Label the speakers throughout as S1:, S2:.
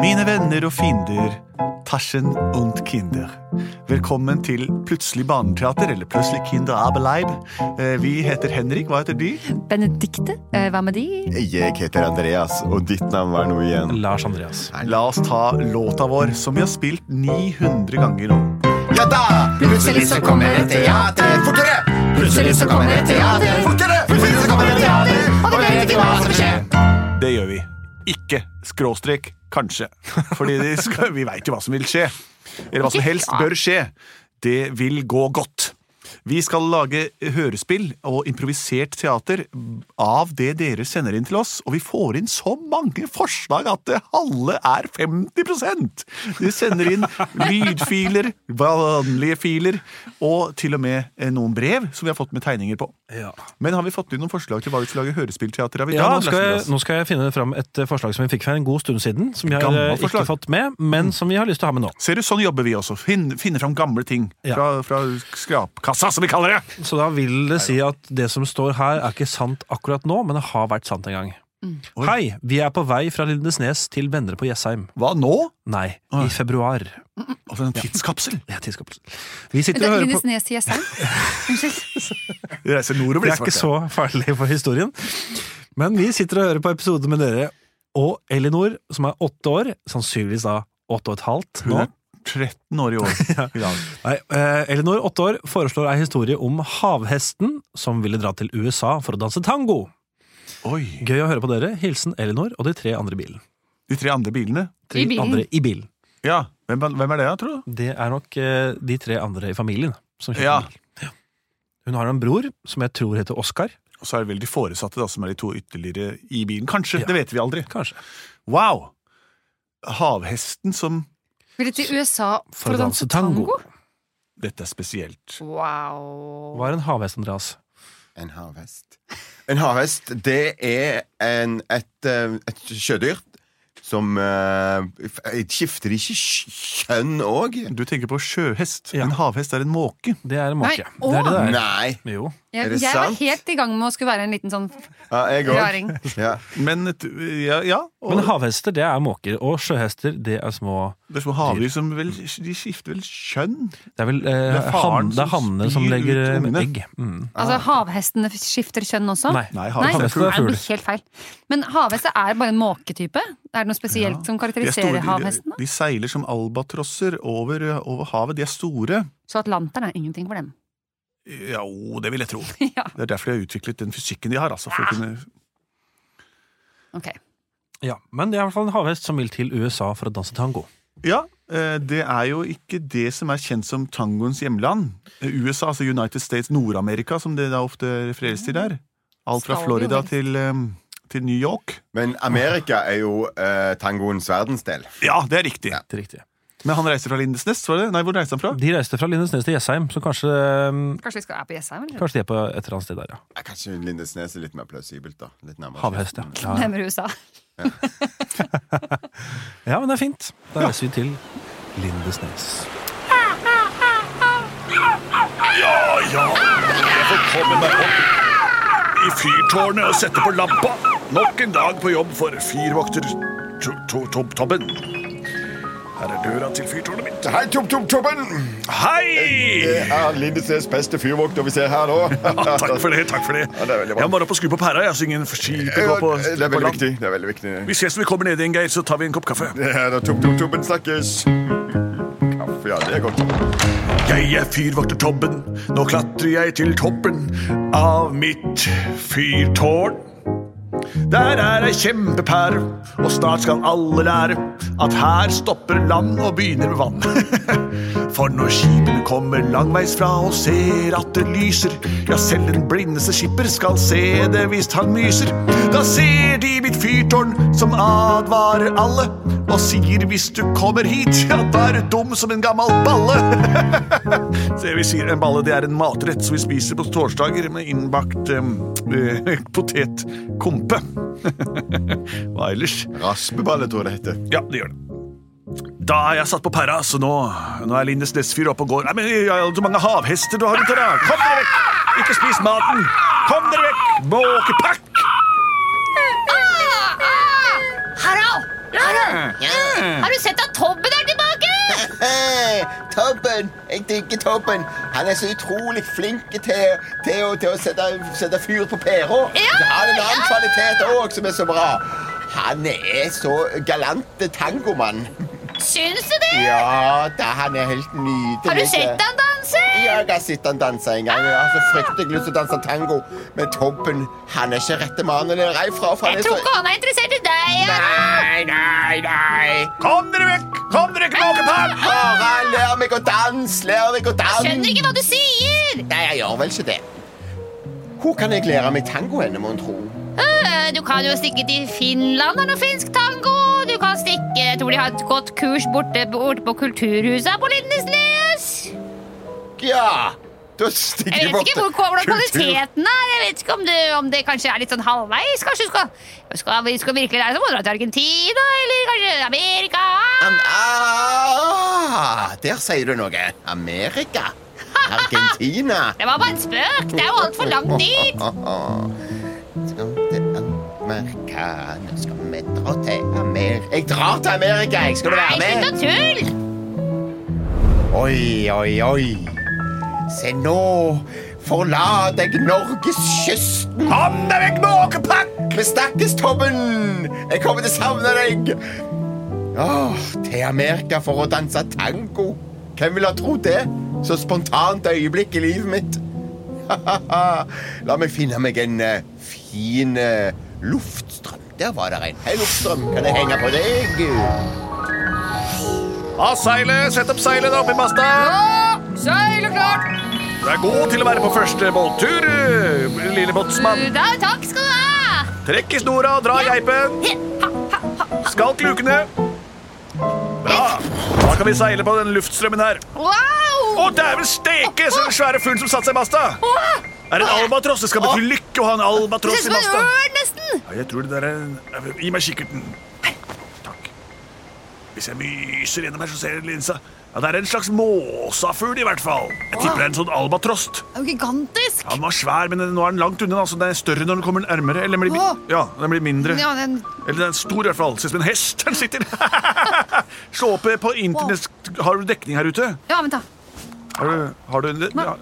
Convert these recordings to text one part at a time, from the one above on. S1: Mine venner og fiender, Taschen und Kinder. Velkommen til Plutselig barneteater, eller Plutselig Kinderabeleib. Eh, Vi heter Henrik, hva heter de?
S2: Benedikte, eh, hva med de?
S3: Jeg heter Andreas, og ditt navn var noe igjen.
S4: Lars Andreas.
S1: La oss ta låta vår, som vi har spilt 900 ganger nå.
S3: Ja da!
S2: Plutselig så kommer et teater.
S3: Fortere!
S2: Plutselig så kommer et teater.
S3: Fortere! Plutselig så kommer et teater. Og vi vet ikke hva som skjer.
S1: Det gjør vi. Ikke skråstrek kanskje. Fordi de skal, vi veit jo hva som vil skje. Eller hva som helst bør skje. Det vil gå godt. Vi skal lage hørespill og improvisert teater av det dere sender inn til oss, og vi får inn så mange forslag at det halve er 50 De sender inn lydfiler, vanlige filer, og til og med eh, noen brev som vi har fått med tegninger på.
S4: Ja.
S1: Men har vi fått inn noen forslag til hva vi skal lage hørespillteater av i
S4: nå,
S1: dag?
S4: skal jeg,
S1: Lasse Andreas?
S4: nå skal jeg finne fram et eh, forslag som vi fikk for en god stund siden. Som vi har
S1: Gammelt
S4: eh, ikke
S1: forslag. Mm.
S4: fått med, men som vi har lyst til å ha med nå.
S1: Ser du, Sånn jobber vi også. Finne, finne fram gamle ting
S4: Ja.
S1: fra, fra skrapkassa, som vi kaller det.
S4: Så da vil det si at det som står her, er ikke sant akkurat nå, men det har vært sant en gang.
S2: Mm.
S1: Oi.
S4: Hei, vi er på vei fra Lindesnes til Vendre på Jessheim.
S1: Hva nå?
S4: Nei,
S1: Oi.
S4: i februar.
S1: Altså en tidskapsel.
S4: Det er tidskapsel. Vi
S2: Det
S4: sitter og
S2: er
S4: hører på
S2: Lindesnes i Jessheim. Unnskyld.
S1: Vi reiser nordover.
S4: Det er ikke så farlig for historien. Men vi sitter og hører på episoden med dere og Elinor, som er åtte år. Sannsynligvis da åtte og et halvt
S1: Hun
S4: nå.
S1: er 13 år i år. i dag.
S4: Nei, eh, Elinor, åtte år, foreslår ei historie om havhesten som ville dra til USA for å danse tango.
S1: Oi.
S4: Gøy å høre på dere. Hilsen Elinor og de tre andre i bilen.
S1: De tre andre bilene.
S4: Tre
S2: I bilen.
S4: Andre i bilen.
S1: Ja, Hvem, hvem er det, da, tror du?
S4: Det er nok eh, de tre andre i familien som kjøper
S1: Ja.
S4: bil. Hun har en bror som jeg tror heter Oskar.
S1: Og så er det vel de foresatte, da, som er de to ytterligere i bilen. Kanskje.
S4: Ja.
S1: Det vet vi aldri.
S4: Kanskje.
S1: Wow! Havhesten som
S2: Ville til USA for å danse tango?
S1: Dette er spesielt.
S2: Wow.
S4: Hva er en havhest, Andreas?
S3: En havhest. En havhest, det er en, et, eh, et sjødyr som eh, f- Skifter ikke sk- kjønn òg?
S1: Du tenker på sjøhest.
S4: Ja.
S1: En havhest er en måke.
S4: Det er en måke.
S2: Nei, å!
S4: det er det det er.
S3: Nei.
S4: Jo.
S3: Er
S2: Jeg,
S3: det
S2: jeg var
S3: sant?
S2: helt i gang med å skulle være en liten sånn
S3: Ja, jeg òg.
S2: raring.
S3: Ja.
S1: Men et- ja, ja. Og
S4: Men havhester, det er måker. Og sjøhester, det er små
S1: det er små havdyr som vel De skifter vel kjønn?
S4: Det er vel eh,
S1: Det er faren
S4: han- det er
S1: som
S4: hannene som
S1: spyr
S4: legger
S1: ut
S4: eh,
S1: ungene.
S4: egg. Mm.
S2: Altså, havhestene skifter kjønn også?
S4: Nei.
S1: Nei,
S2: Nei,
S1: havhest er
S4: Havhester
S1: fugl.
S4: er
S2: det
S4: fugl.
S2: blir helt feil. Men havheste er bare en måketype? Er det noe spesielt
S1: De, er
S2: som
S1: store,
S2: karakteriserer
S1: de,
S2: havhesten? da?
S1: de seiler som albatrosser over, eh, over havet. De er store.
S2: Så atlanteren er ingenting for dem.
S1: Jo, det vil jeg tro.
S2: ja,
S1: Det er derfor de har utviklet den fysikken de har. Altså, for å kunne...
S2: ok.
S4: Ja, men det er i hvert fall en havhest som vil til USA for å danse tango.
S1: Ja, eh, det er jo ikke det som er kjent som tangoens hjemland. Eh, USA, altså United States Nord-Amerika, som det da ofte refereres til der. Alt fra
S2: Skal jo
S1: Florida
S2: helst.
S1: til, eh, til New York.
S3: Men Amerika er jo eh, tangoens verdensdel.
S1: Ja, det er riktig.
S4: Det er riktig.
S1: Men han reiser fra Lindesnes, var det? Nei, hvor reiste han fra?
S4: De reiste fra Lindesnes til Jessheim, så kanskje, eh,
S2: Kanskje vi skal være på Jessheim? eller?
S4: kanskje de er på et eller annet sted der, ja.
S3: Ja, Kanskje Lindesnes er litt mer plausibelt, da. Litt nærmere.
S4: Havhest, ja. ja.
S2: Nærmere USA.
S4: Ja, men det er fint. Da reiser vi til Lindesnes.
S1: Ja, jeg får komme meg opp i fyrtårnet og sette på lampa. Nok en dag på jobb for fyrvokter Tobben. Her er døra til fyrtårnet mitt.
S3: Hei, Tom Tom Tobben!
S1: Hei!
S3: Det er Lindesnes beste fyrvokter vi ser her nå.
S1: Ja, Ah, takk for det. takk for det.
S3: Ja, det er veldig bra.
S1: Jeg må bare opp og skru på pæra. Jeg synger en skip og
S3: Ja,
S1: gå på,
S3: det er
S1: på
S3: veldig
S1: land.
S3: viktig. Det er veldig viktig.
S1: Vi ses når vi kommer ned igjen, Geir, så tar vi en kopp kaffe.
S3: Det er da Tom Tom Tobben snakkes. Kaffe, ja, det er godt.
S1: Jeg er fyrvokter Tobben. Nå klatrer jeg til toppen av mitt fyrtårn. Der er ei kjempepære, og snart skal alle lære at her stopper land og begynner med vann. For når skipene kommer langveisfra og ser at det lyser, ja, selv den blindeste skipper skal se det hvis han myser. Da ser de mitt fyrtårn som advarer alle og sier 'hvis du kommer hit', ja, da er du dum som en gammel balle. Så vi sier en balle, det er en matrett som vi spiser på torsdager med innbakt eh, potetkompe. Hva ellers?
S5: Raspeballe, tror jeg det heter.
S1: Ja, det gjør det. Da er jeg satt på pæra, så nå, nå er Lindes Nesfyr oppe og går. Nei, men jeg har jo så mange havhester du har rundt her, da. Kom dere vekk! Ikke spis maten! Kom dere vekk! Måkepakk!
S6: Harald! Harald! Har du sett at Tobben er tilbake?
S3: Hei, Tobben! Jeg digger Tobben. Han er så utrolig flink til, til, å- til å sette, sette fyr på pæra.
S6: Ja,
S3: Han har en annen
S6: ja.
S3: kvalitet òg som er så bra. Han er så galante tangomann.
S6: Syns du det?
S3: Ja da, han er helt nydelig.
S6: Har du sett han danse?
S3: Ja, jeg har sett han danse en gang. Jeg har
S6: Ah!
S3: så fryktelig lyst til å danse tango. Men Tobben han er ikke rette mannen å reise fra. For han
S6: Jeg
S3: er
S6: tror
S3: så...
S6: ikke han er interessert i deg. Harald.
S3: Nei, nei, nei.
S1: Kom dere vekk! Kom dere ikke, måkepakk!
S3: Harald, lær meg å danse! Lær meg å danse!
S6: Skjønner ikke hva du sier.
S3: Nei, jeg gjør vel ikke det. Hvor kan jeg lære meg tango henne, mon tro?
S6: Øh, Du kan jo stikke til Finland, det er noe finsk tango. Du kan stikke Jeg tror de har et godt kurs borte, borte på Kulturhuset her på Lindesnes.
S3: Ja, da stikker
S6: Jeg
S3: jeg
S6: vet
S3: bort
S6: ikke hvor, hvordan kvaliteten er. Jeg vet ikke om det, om det kanskje er litt sånn halvveis. Kanskje du skal, skal, vi skal virkelig lære, så må du dra til Argentina eller kanskje Amerika.
S3: Ah, der sier du noe. Amerika. Argentina.
S6: Det var bare en spøk. Det er jo altfor langt dit.
S3: Skal til Amerika Nå skal vi dra til Amerika. Jeg drar til Amerika, jeg. Skal du
S6: Nei,
S3: være med?
S6: slutt å tulle.
S3: Oi, oi, oi. Se nå forlater jeg norgeskysten. Kom deg vekk, måkepakk! Vi snakkes, Tobben. Jeg kommer til å savne deg. Åh, til Amerika for å danse tango. Hvem ville ha trodd det? Så spontant øyeblikk i livet mitt. La meg finne meg en eh, fin eh, luftstrøm. Der var det en. Hei, luftstrøm. Kan jeg henge på deg?
S1: Av seilet! Sett opp seilet oppi masta!
S6: Seil og klart.
S1: Du er god til å være på første båttur, lille båtsmann.
S6: Da, takk skal du ha.
S1: Trekk i snora og dra i geipen. Skalk lukene. Bra. Da kan vi seile på den luftstrømmen her.
S6: Wow!
S1: Å, dæven steike! Så den svære fuglen som satte seg i masta.
S6: Åh,
S1: Er det en albatross? Det skal bety lykke å ha en
S6: Det
S1: albatross
S6: ser ut
S1: i
S6: som en
S1: masta.
S6: ørn, nesten.
S1: Ja, jeg tror det der er en... Gi meg kikkerten. Takk. Hvis jeg myser gjennom her, så ser jeg linsa. Ja, Det er en slags måsafugl, i hvert fall. Jeg tipper det er en sånn albatrost.
S2: Det er jo gigantisk!
S1: Han var svær, men nå er den langt unna. altså Den er større når den kommer nærmere. Eller den blir,
S2: Åh.
S1: ja, den blir mindre.
S2: Ja, den,
S1: Eller den er stor, i hvert fall. Ser ut som en hest. Den sitter. Slå opp eh, på internett. Har du dekning her ute?
S2: ja, vent, da.
S1: Har du, har du ja,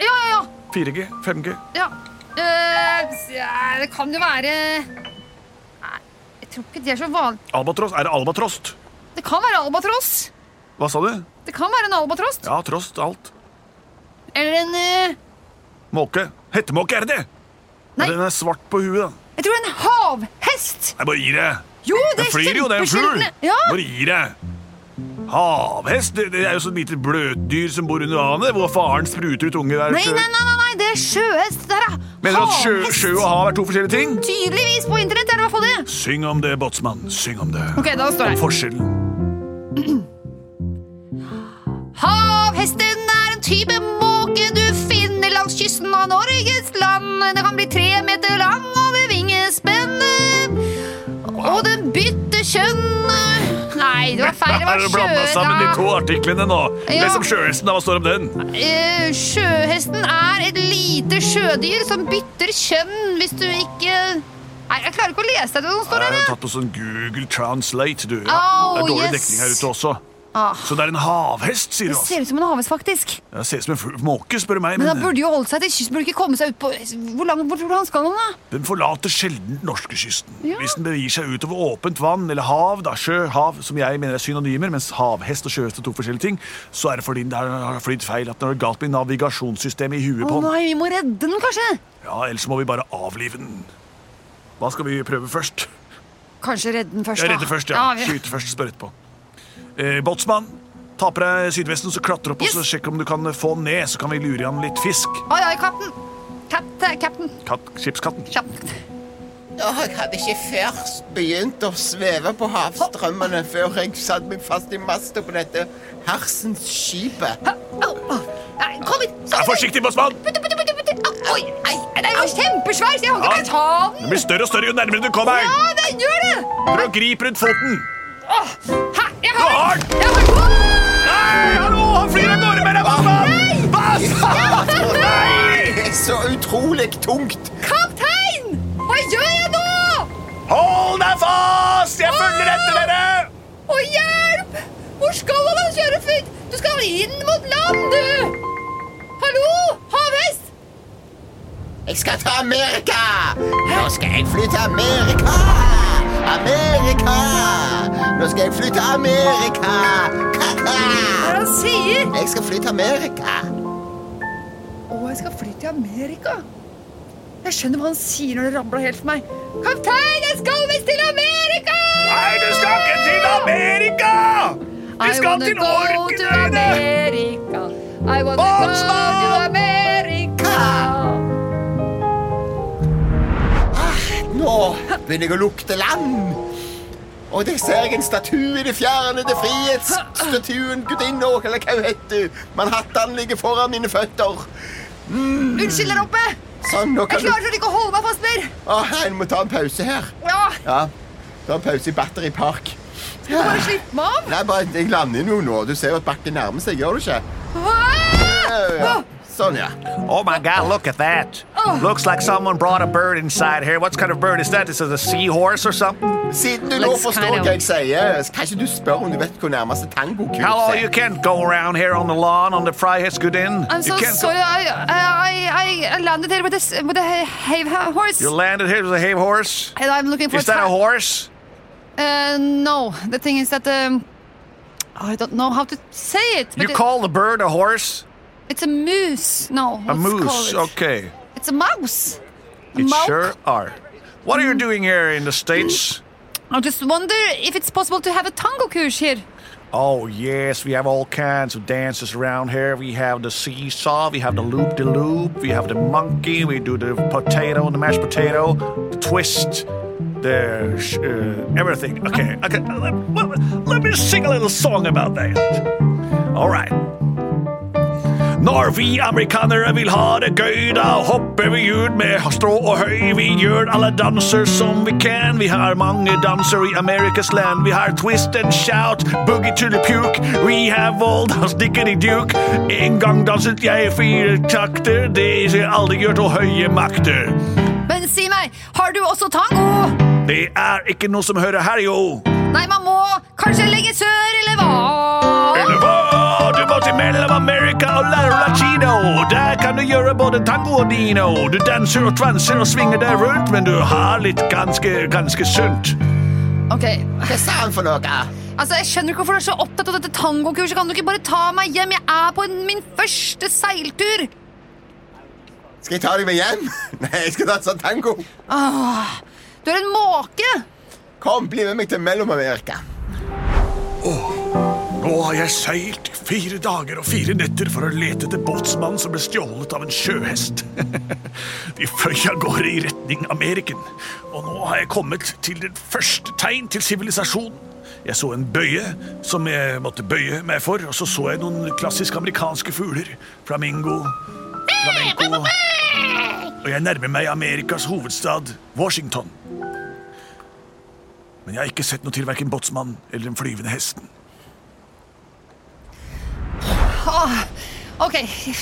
S2: Ja, ja,
S1: 4G? 5G?
S2: ja. ja. Øh, s- ja, det kan jo være Nei, jeg tror ikke det er så vanlig.
S1: Albatross? Er det albatrost?
S2: Det kan være albatross.
S1: Hva sa du?
S2: Det kan være en albatross.
S1: Ja, trost, alt.
S2: Eller en øh,
S1: Måke. Hettemåke, er det det?
S2: Nei.
S1: Ja, Den er svart på huet, da.
S2: Jeg tror en havhest.
S1: Jeg bare gir deg.
S2: Jo, det
S1: Den
S2: er
S1: flyr jo, det er en fugl.
S2: kjempesjeldne. Ja.
S1: Bare gir deg. Havhest? Det, det er jo sånn lite bløtdyr som bor under vannet, hvor faren spruter ut unge der.
S2: Nei, nei, nei, nei, nei, det er sjøhest. Det er
S1: Mener du at sjø,
S2: havhest.
S1: sjø og hav er to forskjellige ting?
S2: Tydeligvis på internett er det i hvert fall det.
S1: Syng om det, båtsmann. Syng om det.
S2: Ok, da står det.
S1: Om forskjellen.
S2: Havhesten er en type måke du finner langs kysten av Norges land. Den kan bli tre meter lang over vingespennet. Og den bytter kjønn. Nei, det var feil.
S1: Her
S2: Det var
S1: er det blanda sammen de to artiklene nå.
S2: Ja.
S1: Les om sjøhesten, da. Hva står det om den?
S2: Eh, Sjøhesten er et lite sjødyr som bytter kjønn hvis du ikke Nei, jeg klarer ikke å lese det som står
S1: Jeg
S2: der.
S1: har
S2: jeg.
S1: tatt på sånn Google Translate, du.
S2: Au,
S1: det er dårlig
S2: yes.
S1: dekning her ute også.
S2: Ah.
S1: Så det er en havhest, sier du?
S2: Det
S1: altså?
S2: ser ut som en havhest, faktisk.
S1: Ja, Det ser ut som en fu- måke, spør du meg.
S2: Men han
S1: Men
S2: burde jo holdt seg til kysten. Burde ikke komme seg ut på Hvor langt bort tror du han skal nå? da?
S1: den eh, forlater sjelden norskekysten.
S2: Ja.
S1: Hvis den begir seg utover åpent vann eller hav, da sjø, hav, som jeg mener er synonymer, mens havhest og sjøhest er to forskjellige ting, så er det fordi den har- har flydd feil at den har galt med navigasjonssystemet i huet
S2: Å
S1: på den.
S2: nei, vi må redde den, kanskje?
S1: Ja, ellers må vi bare avlive den. Hva skal vi prøve først?
S2: Kanskje redde den først,
S1: Jeg
S2: da.
S1: redder først, ja.
S2: vi-
S1: Skyter først, spør etterpå. Eh, Båtsmann, ta på deg sydvesten, så klatre opp og så sjekk om du kan få den ned, så kan vi lure i han litt fisk.
S2: Oi, oi, kapten. Kapt, eh, kapten.
S1: Katt, skipskatten.
S2: Kapten.
S3: Åh, jeg hadde ikke først begynt å sveve på havstrømmene før jeg satte meg fast i masta på dette hersens skipet.
S7: Au, au. Nei, kom hit!
S8: Vær forsiktig, bossmann!
S7: Putte, putte, putte, putte. Au, Oi, nei, den er jo kjempesvær, så jeg kan ikke ta den.
S8: Den blir større og større jo nærmere du kommer.
S7: Ja, den gjør det!
S8: Prøv å gripe rundt foten.
S7: Hæ, jeg
S8: Du
S7: har
S8: har den!
S7: Jeg har
S8: Nei, hallo, han flyr av gårde med deg, bossmann! Bass! Nei!
S3: Det er så utrolig tungt.
S7: Kaptein! Hva gjør jeg nå?
S8: Hold deg fast! Jeg følger etter dere!
S7: Å, hjelp! Hvor skal man kjøre fint? Du skal inn mot land, du! Hallo, havhest!
S3: Jeg skal til Amerika! Nå skal jeg fly til Amerika! Amerika! Nå skal jeg fly til Amerika!
S7: Hva
S3: Ka-ka!
S7: er det han sier?
S3: Jeg skal fly til Amerika.
S7: Å, jeg skal fly til Amerika. Jeg skjønner hva han sier når det ramler helt for meg. Kaptein, jeg skal visst til Amerika!
S8: Nei, du skal ikke til Amerika! Vi
S7: I
S8: skal
S7: wanna
S8: til
S7: go to
S8: Orknøyene!
S7: America. I wanna go to America.
S3: Nå begynner jeg å lukte land. Og der ser jeg en statue i det fjerne, det frihetsstatuen, gudinne, eller hva hun heter. Manhattan ligger foran mine føtter.
S7: Unnskyld der oppe.
S3: Sånn, nå
S7: Jeg
S3: kan du...
S7: klarer ikke å holde meg fast mer.
S3: Åh, jeg må ta en pause her.
S7: Ja,
S3: Ja, ta en pause i Battery Park.
S7: skal du bare slippe meg av?
S3: Nei, bare, jeg lander jo nå. Du ser jo at bakken nærmer seg, gjør du ikke?
S7: Hva?
S3: Ja, ja. Sånn, ja.
S1: Oh my god, look at that.
S7: Oh.
S1: Looks like someone brought a bird inside here. What kind of bird is that? Is it a seahorse or something?
S3: Siden du nå
S2: Let's
S3: forstår
S2: kind of-
S3: hva jeg sier, så kan ikke du spørre om du vet hvor nærmeste tangokurs
S1: Hello, you
S3: er?
S1: can't go around here on the lawn on the Freiheits good inn.
S7: I'm
S1: you
S7: so
S1: can't
S7: sorry. I, I, I, I landed here with a, with a have horse.
S1: You landed here with a hay horse?
S7: And I'm looking for
S1: Is that a
S7: ta-
S1: horse?
S7: Uh, no, the thing is that um, I don't know how to say it. But
S1: You
S7: it-
S1: call the bird a horse?
S7: it's a moose. No,
S1: A
S7: let's call
S1: moose,
S7: it.
S1: okay.
S7: It's a mouse. A
S1: It
S7: mouse. Mm.
S1: sure are. What are you doing here in the States?
S7: I just wonder if it's possible to have a tango kurs here.
S1: Oh, yes, we have all kinds of dances around here. We have the seesaw, we have the loop de loop, we have the monkey, we do the potato, the mashed potato, the twist, the sh- uh, everything. Okay, okay, let, let- let me sing a little song about that. All right. Når vi amerikanere vil ha det gøy, da hopper vi ut med strå og høy. Vi gjør alle danser som vi kan. Vi har mange danser i Amerikas land. Vi har twist and shout, boogie to the puke. We have old house dickety duke. En gang danset jeg fire takter. Det ser aldri gjort til høye makter.
S7: Men si meg, har du også tango?
S1: Det er ikke noe som hører her, jo.
S7: Nei, man må kanskje legge sør, eller hva?
S1: Eller hva? Du må til mellom Amerika og lære latino. Der kan du gjøre både tango og dino. Du danser og transer og svinger deg rundt, men du har litt ganske, ganske sunt.
S7: Ok,
S3: Hva sa han for noe?
S7: altså jeg skjønner ikke hvorfor du er så opptatt av dette tangokurset. Kan du ikke bare ta meg hjem? Jeg er på en, min første seiltur.
S3: Skal jeg ta deg med hjem? Nei, jeg skal danse tango.
S7: Du er en måke.
S3: Kom, bli med meg til Mellom-Amerika.
S1: Nå har jeg seilt i fire dager og fire netter for å lete etter båtsmannen som ble stjålet av en sjøhest. De fløy av gårde i retning Ameriken, og nå har jeg kommet til det første tegn til sivilisasjonen. Jeg så en bøye som jeg måtte bøye meg for, og så så jeg noen klassisk amerikanske fugler. Flamingo, flamenco Og jeg nærmer meg Amerikas hovedstad, Washington. Men jeg har ikke sett noe til verken båtsmannen eller den flyvende hesten.
S7: Åh, ok,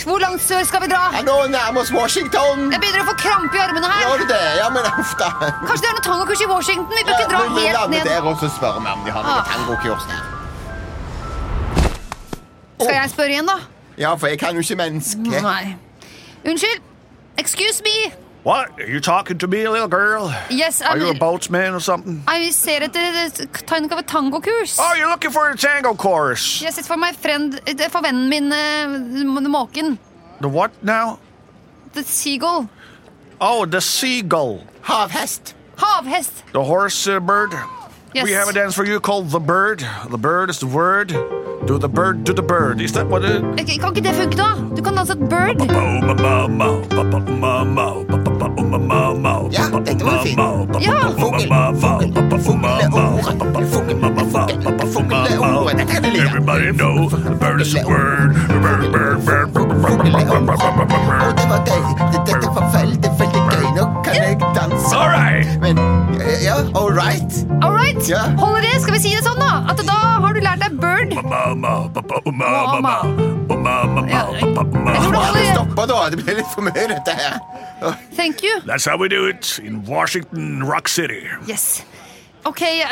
S7: hvor langt sør skal vi dra?
S3: Ja, nå nærmer oss Washington.
S7: Jeg begynner å få krampe i armene her.
S3: Gjør du det? Ja, men uff da.
S7: Kanskje det er noe tangokurs i Washington? Vi bør ikke dra
S3: Ja, men vi
S7: helt
S3: lander
S7: ned. Ah.
S3: der og så spør vi om de har noe tangokurs der.
S7: Skal jeg spørre igjen, da?
S3: Ja, for jeg kan jo ikke menneske.
S7: Nei. Unnskyld. Excuse me.
S1: What? Are you talking to me, little girl?
S7: Yes,
S1: Are you a
S7: I'm,
S1: boatsman or something?
S7: I ser etter et tegn av et tangokurs.
S1: Oh, you're looking for a tango course.
S7: Yes, it's for my friend, det er for vennen min, eh, måken.
S1: The what now?
S7: The seagull.
S1: Oh, the seagull.
S3: Havhest.
S7: Havhest.
S1: The horse uh, bird.
S7: Yes.
S1: We have a dance for you called the bird. The bird is the word. Do the bird, do the bird. Is that what it...
S7: Ok, Kan ikke det funke, da? Du kan danse et bird.
S1: Ba-ba-ba-ba, ba-ba-ba-ba, ba-ba-ba-ba.
S3: Ja, dette var fint.
S7: Ja.
S3: Fugl, fugl, fugleordet. Fugl, fugl, fugleordet. Dette kan du lide. Og det var deg. Dette var veldig, veldig gøy. Nå kan jeg danse. Men, eh, ja, all right.
S7: All right.
S3: Ja.
S7: Holder det? Skal vi si det sånn, da? At da har du lært deg bird? Ja, jeg tror det
S3: Det
S7: holder.
S3: stopper da. Det blir litt for mye, dette her.
S7: Thank you.
S1: That's how we do it in Washington, Rock City.
S7: Yes. Ok, eh,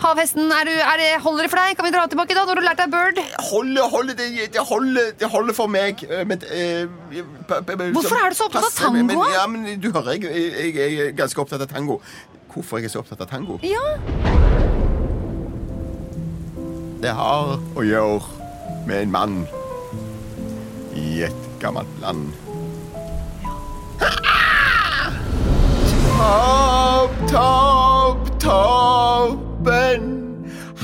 S7: havhesten, er du, er det, holder det for deg? Kan vi dra tilbake da, når du har lært deg bird?
S3: Holder, holder, det, det holder, det holder for meg. eh, Men, eh, p- p- p-
S7: Hvorfor er du så opptatt av
S3: passe- men- men-
S7: tango, da?
S3: Ja, men du hører, jeg, jeg, jeg er ganske opptatt av tango. Hvorfor jeg er så opptatt av tango?
S7: Ja.
S3: Det har å gjøre med en mann i et gammelt land. Topp, topp, toppen.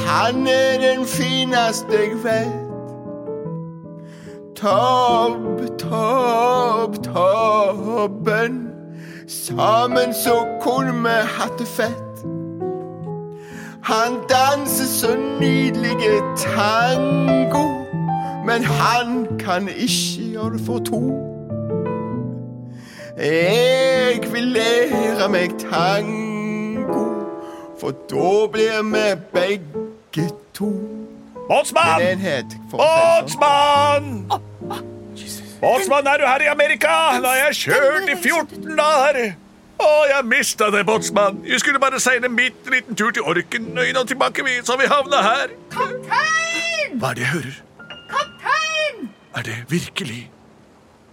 S3: Han er den fineste jeg vet. Topp, topp, toppen. Sammen så kunne vi hatt det fett. Han danser så nydelige tango, men han kan ikke gjøre det for to. Jeg vil lære meg tango, for da blir vi begge to en
S1: Båtsmann!
S3: enhet. For å si det sånn.
S1: Båtsmann! Båtsmann, er du her i Amerika? Nå har jeg kjørt i 14 dager. Å, jeg mista det, båtsmann. Vi skulle bare seile en bitte liten tur til Orkenøyene og tilbake, vi, så vi havna her.
S7: Kaptein!
S1: Hva er det jeg hører?
S7: Kaptein!
S1: Er det virkelig?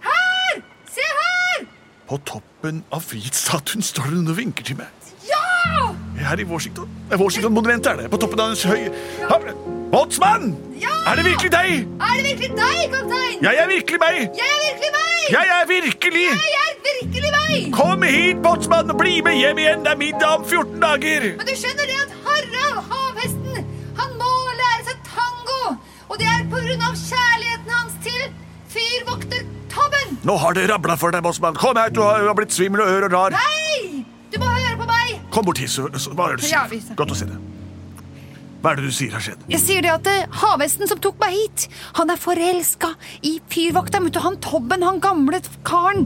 S7: Her! Se her!
S1: På toppen av frihetsstatuen står hun og vinker til meg.
S7: Ja!
S1: Her i Washington. Nei, Washington-monumentet er det. På toppen av en høy Ha- Båtsmann!
S7: Ja!
S1: Er det virkelig deg?
S7: Er det virkelig deg, kaptein?
S1: Jeg er virkelig meg.
S7: Jeg er virkelig meg!
S1: Jeg er virkelig
S7: Jeg er virkelig meg!
S1: Kom hit, båtsmann, og bli med hjem igjen. Det er middag om 14 dager.
S7: Men du skjønner det at Harald, havhesten, han må lære seg tango. Og det er på grunn av kjærligheten hans til fyrvokter Tobben.
S1: Nå har det rabla for deg, båtsmann. Kom her, du har, du har blitt svimmel og ør og rar.
S7: Hei! Du må høre på meg.
S1: Kom bort hit, så, så hva er det du
S7: Ja, vi
S1: sier?
S7: ser.
S1: Godt å se deg. Hva er det du sier har skjedd?
S7: Jeg sier det at eh, havhesten som tok meg hit, han er forelska i fyrvokteren. Vet du, han Tobben, han gamle karen.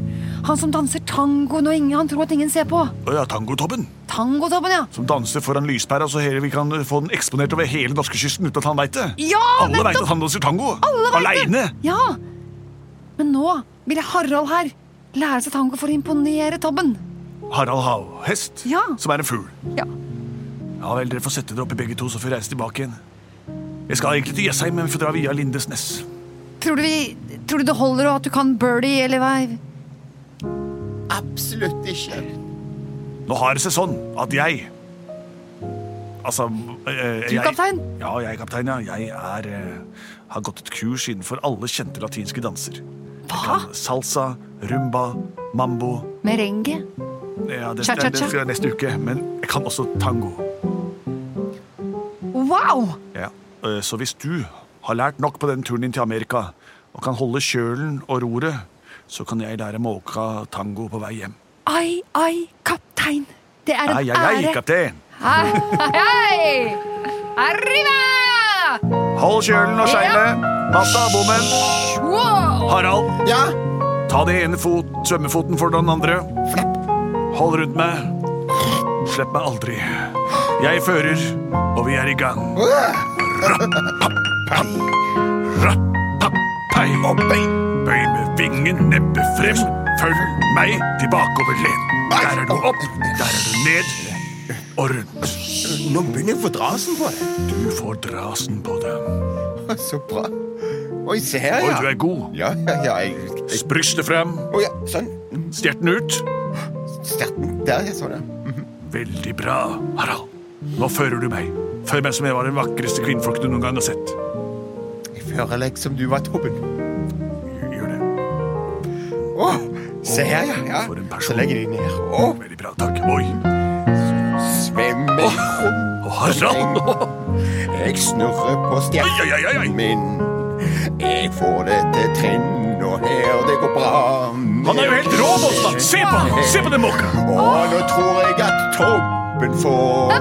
S7: Han som danser tango når ingen, han tror at ingen ser på.
S1: Å ja, Tangotobben,
S7: Tango-Tobben, ja.
S1: som danser foran lyspæra så hele vi kan få den eksponert over hele norskekysten uten at han veit det.
S7: Ja,
S1: Alle veit
S7: nettopp.
S1: at han danser tango.
S7: Alle vet
S1: Aleine.
S7: det. Ja. Men nå vil jeg Harald her lære seg tango for å imponere Tobben.
S1: Harald Havhest,
S7: Ja.
S1: som er en fugl.
S7: Ja.
S1: Ja vel, dere får sette dere oppi begge to, så får vi reise tilbake igjen. Jeg skal egentlig til Jessheim, men vi får dra via Lindesnes.
S7: Tror du, vi, tror du det holder og at du kan birdie, eller hva?
S3: Absolutt ikke.
S1: Nå har det seg sånn at jeg Altså eh,
S7: Du, kaptein?
S1: Ja, jeg er kaptein, ja. Jeg er, eh, har gått et kurs innenfor alle kjente latinske danser.
S7: Hva?
S1: Salsa, rumba, mambo
S7: Merengue?
S1: ja, det,
S7: Cha-cha-cha.
S1: det skal jeg neste uke. Men jeg kan også tango.
S7: Wow!
S1: Ja. eh, Så hvis du har lært nok på den turen din til Amerika og kan holde kjølen og roret, så kan jeg lære måka tango på vei hjem.
S7: Ai, ai, kaptein. Det er en
S1: Ai, ai, ai,
S7: ære.
S1: kaptein!
S7: Hei! Arriva!
S1: Hold kjølen og seilet! Masta av bommen!
S7: Wow!
S1: Harald!
S3: Ja,
S1: Ta den ene fot, svømmefoten for den andre. Hold rundt meg. Slipp meg aldri. Jeg fører, og vi er i gang. Rattappai. Bøy med vingen neppe fremst. Følg meg tilbake over len. Der er du opp, der er du ned og rundt.
S3: nå begynner jeg å få drasen på det.
S1: Du får drasen på det.
S3: Så bra. Oi, se her,
S1: Og du
S3: ja.
S1: er god.
S3: Ja, ja, ja. Jeg, jeg,
S1: Brystet frem,
S3: Å, ja. Sånn.
S1: stjerten ut.
S3: Sterten. Der, ja. Sånn, ja.
S1: Veldig bra, Harald. Nå fører du meg. Før meg som jeg var den vakreste kvinnfolk du noen gang har sett.
S3: Jeg fører deg som du var Tobben.
S1: Gjør det.
S3: Å, se her, ja. ja.
S1: For en person.
S3: Så legger de ned. Å,
S1: Veldig bra, takk. Oi,
S3: svømmer i rumpen.
S1: og Harald!
S3: Jeg snurrer på
S1: Oi, oi, oi, oi, oi.
S3: stjernen min. Jeg får det til trinn og her, det går bra.
S1: Han er jo helt rå, Bossmann! Se på han! Se på den mokka!
S3: Og nå tror jeg at Tobben får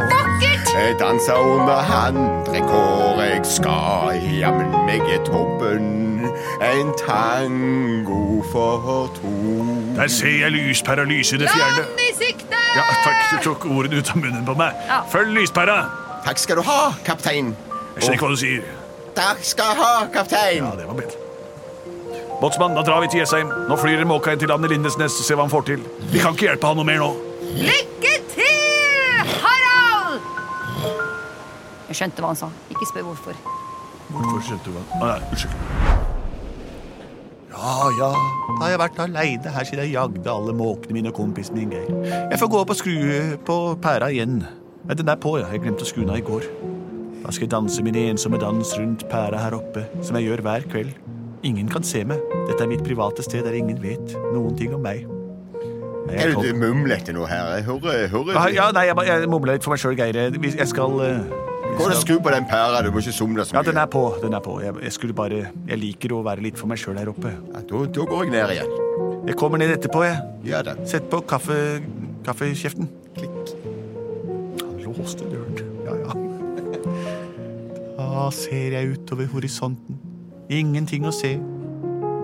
S3: Jeg danser under handrekår. Jeg skal jammen meg i Tobben. En tango for to.
S1: Der ser jeg lyspæra lyse i det fjerne.
S7: Land i sikte!
S1: Ja, takk, du tok ordene ut av munnen på meg.
S7: Ja.
S1: Følg lyspæra!
S3: Takk skal du ha, kaptein.
S1: Jeg skjønner ikke hva du sier.
S3: Takk skal du ha, kaptein.
S1: Ja, det var bedre. Båtsmann, da drar vi til Jessheim. Nå flyr Måka inn til landet Lindesnes og ser hva han får til. Vi kan ikke hjelpe han noe mer nå.
S7: Lykke til, Harald! Jeg skjønte hva han sa. Ikke spør hvorfor.
S1: Hvorfor skjønte du hva? Ah, nei, unnskyld.
S8: Ja, ja, da har jeg vært aleine her siden jeg jagde alle måkene mine og kompisen min Geir. Jeg får gå opp og skru eh, på pæra igjen. Nei, den er på, ja. Jeg glemte å skru den av i går. Da skal jeg danse min ensomme dans rundt pæra her oppe, som jeg gjør hver kveld. Ingen kan se meg. Dette er mitt private sted der ingen vet noen ting om meg. Nei,
S3: Er
S8: jeg
S3: du
S8: kom-
S3: mumlete nå her? Jeg hører,
S8: Ah,
S3: hører.
S8: Ja, nei, jeg, bare- jeg mumla litt for meg sjøl, Geir. Jeg- Jeg skal eh,
S3: Gå og skru på den pæra. Du må ikke somle så
S8: Ja, den
S3: mye.
S8: er på. den er på. Jeg, jeg skulle bare Jeg liker å være litt for meg sjøl her oppe.
S3: Ja, Da da går jeg ned igjen.
S8: Jeg kommer ned etterpå, jeg.
S3: Gjør det.
S8: Sett på kaffe, kaffekjeften. Klikk. Han låste døren. Ja, ja. Da ser jeg utover horisonten. Ingenting å se.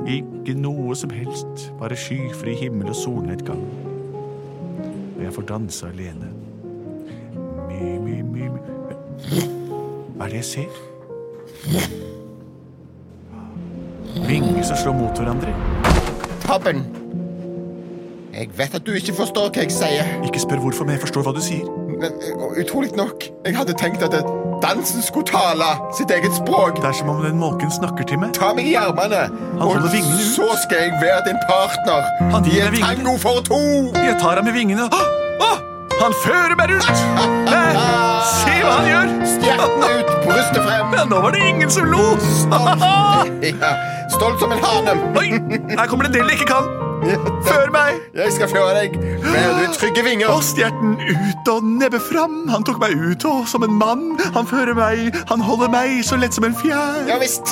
S8: Ikke noe som helst. Bare skyfri himmel og solnedgang. Og jeg får danse alene. My, my, my, my. Hva er det jeg ser? Vinger som slår mot hverandre.
S3: Tobben. Jeg vet at du ikke forstår hva jeg sier.
S8: Ikke spør hvorfor, men jeg forstår hva du sier.
S3: Men og utrolig nok, jeg hadde tenkt at dansen skulle tale sitt eget språk.
S8: Det er som om den måken snakker til meg.
S3: Ta meg i armene, og
S8: holder vingene ut.
S3: så skal jeg være din partner
S8: Han
S3: i en
S8: gir meg vingene.
S3: tango for to.
S8: Jeg tar ham med vingene. Åh! Åh! Han fører meg rundt! Eh, se hva han gjør!
S3: Stjertene ut, brystet frem.
S8: Ja, nå var det ingen som lo!
S3: Ja, stolt som en hane.
S8: Oi, her kommer det en del jeg ikke kan. Før meg!
S3: Jeg skal føre deg med de trygge
S8: Og
S3: vinger.
S8: stjerten ut og nebbet fram. Han tok meg ut og som en mann. Han fører meg, han holder meg så lett som en fjær.
S3: Ja visst.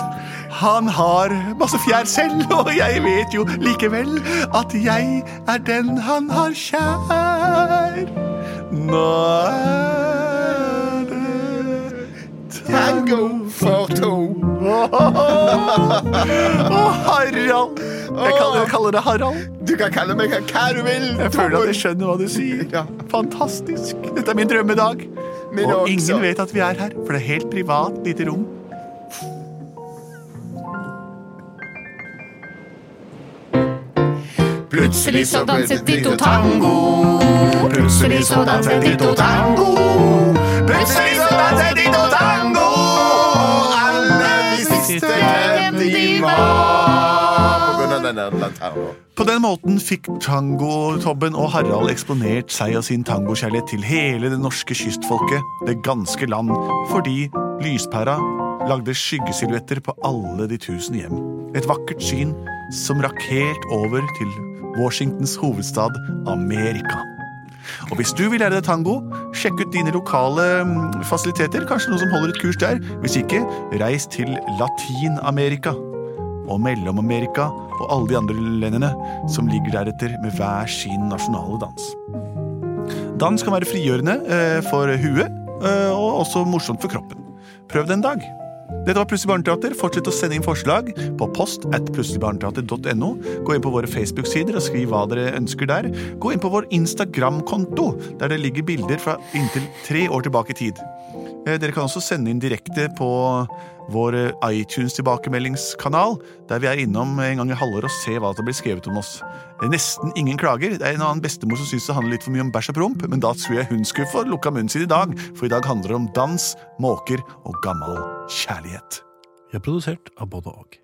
S8: Han har masse fjær selv, og jeg vet jo likevel at jeg er den han har kjær. Nå er det
S3: Tango for to.
S8: Å, Harald! Jeg kaller, jeg kaller det Harald.
S3: Du kan kalle meg hva du vil.
S8: Jeg føler at jeg skjønner hva du sier.
S3: Ja.
S8: Fantastisk. Dette er min drømmedag.
S3: Min
S8: Og
S3: også.
S8: ingen vet at vi er her, for det er helt privat lite rom.
S3: Plutselig
S2: så danset de to
S3: tango. Plutselig
S2: så danset de to
S3: tango. Plutselig så danset de to tango. Alle visste hvem de var. På grunn av den der lanterna.
S8: På den måten fikk tango-Tobben og Harald eksponert seg og sin tangokjærlighet til hele det norske kystfolket, det ganske land, fordi lyspæra lagde skyggesilhuetter på alle de tusen hjem. Et vakkert syn som rakk helt over til Washingtons hovedstad Amerika. Og hvis du vil lære deg tango, sjekk ut dine lokale mm, fasiliteter. Kanskje noen som holder et kurs der. Hvis ikke, reis til Latin-Amerika og Mellom-Amerika og alle de andre landene som ligger deretter med hver sin nasjonale dans. Dans kan være frigjørende eh, for huet, eh, og også morsomt for kroppen. Prøv det en dag. Dette var Plutselig barneteater. Fortsett å sende inn forslag på post at plutseligbarneteater.no. Gå inn på våre Facebook-sider og skriv hva dere ønsker der. Gå inn på vår Instagram-konto, der det ligger bilder fra inntil tre år tilbake i tid. Eh, Dere kan også sende inn direkte på vår eh, iTunes-tilbakemeldingskanal, der vi er innom en gang i halvåret og ser hva som blir skrevet om oss. Det er nesten ingen klager. Det er en annen bestemor som syns det handler litt for mye om bæsj og promp, men da tror jeg hun skulle få lukka munnen sin i dag, for i dag handler det om dans, måker og gammel kjærlighet.
S4: Jeg er produsert av både og.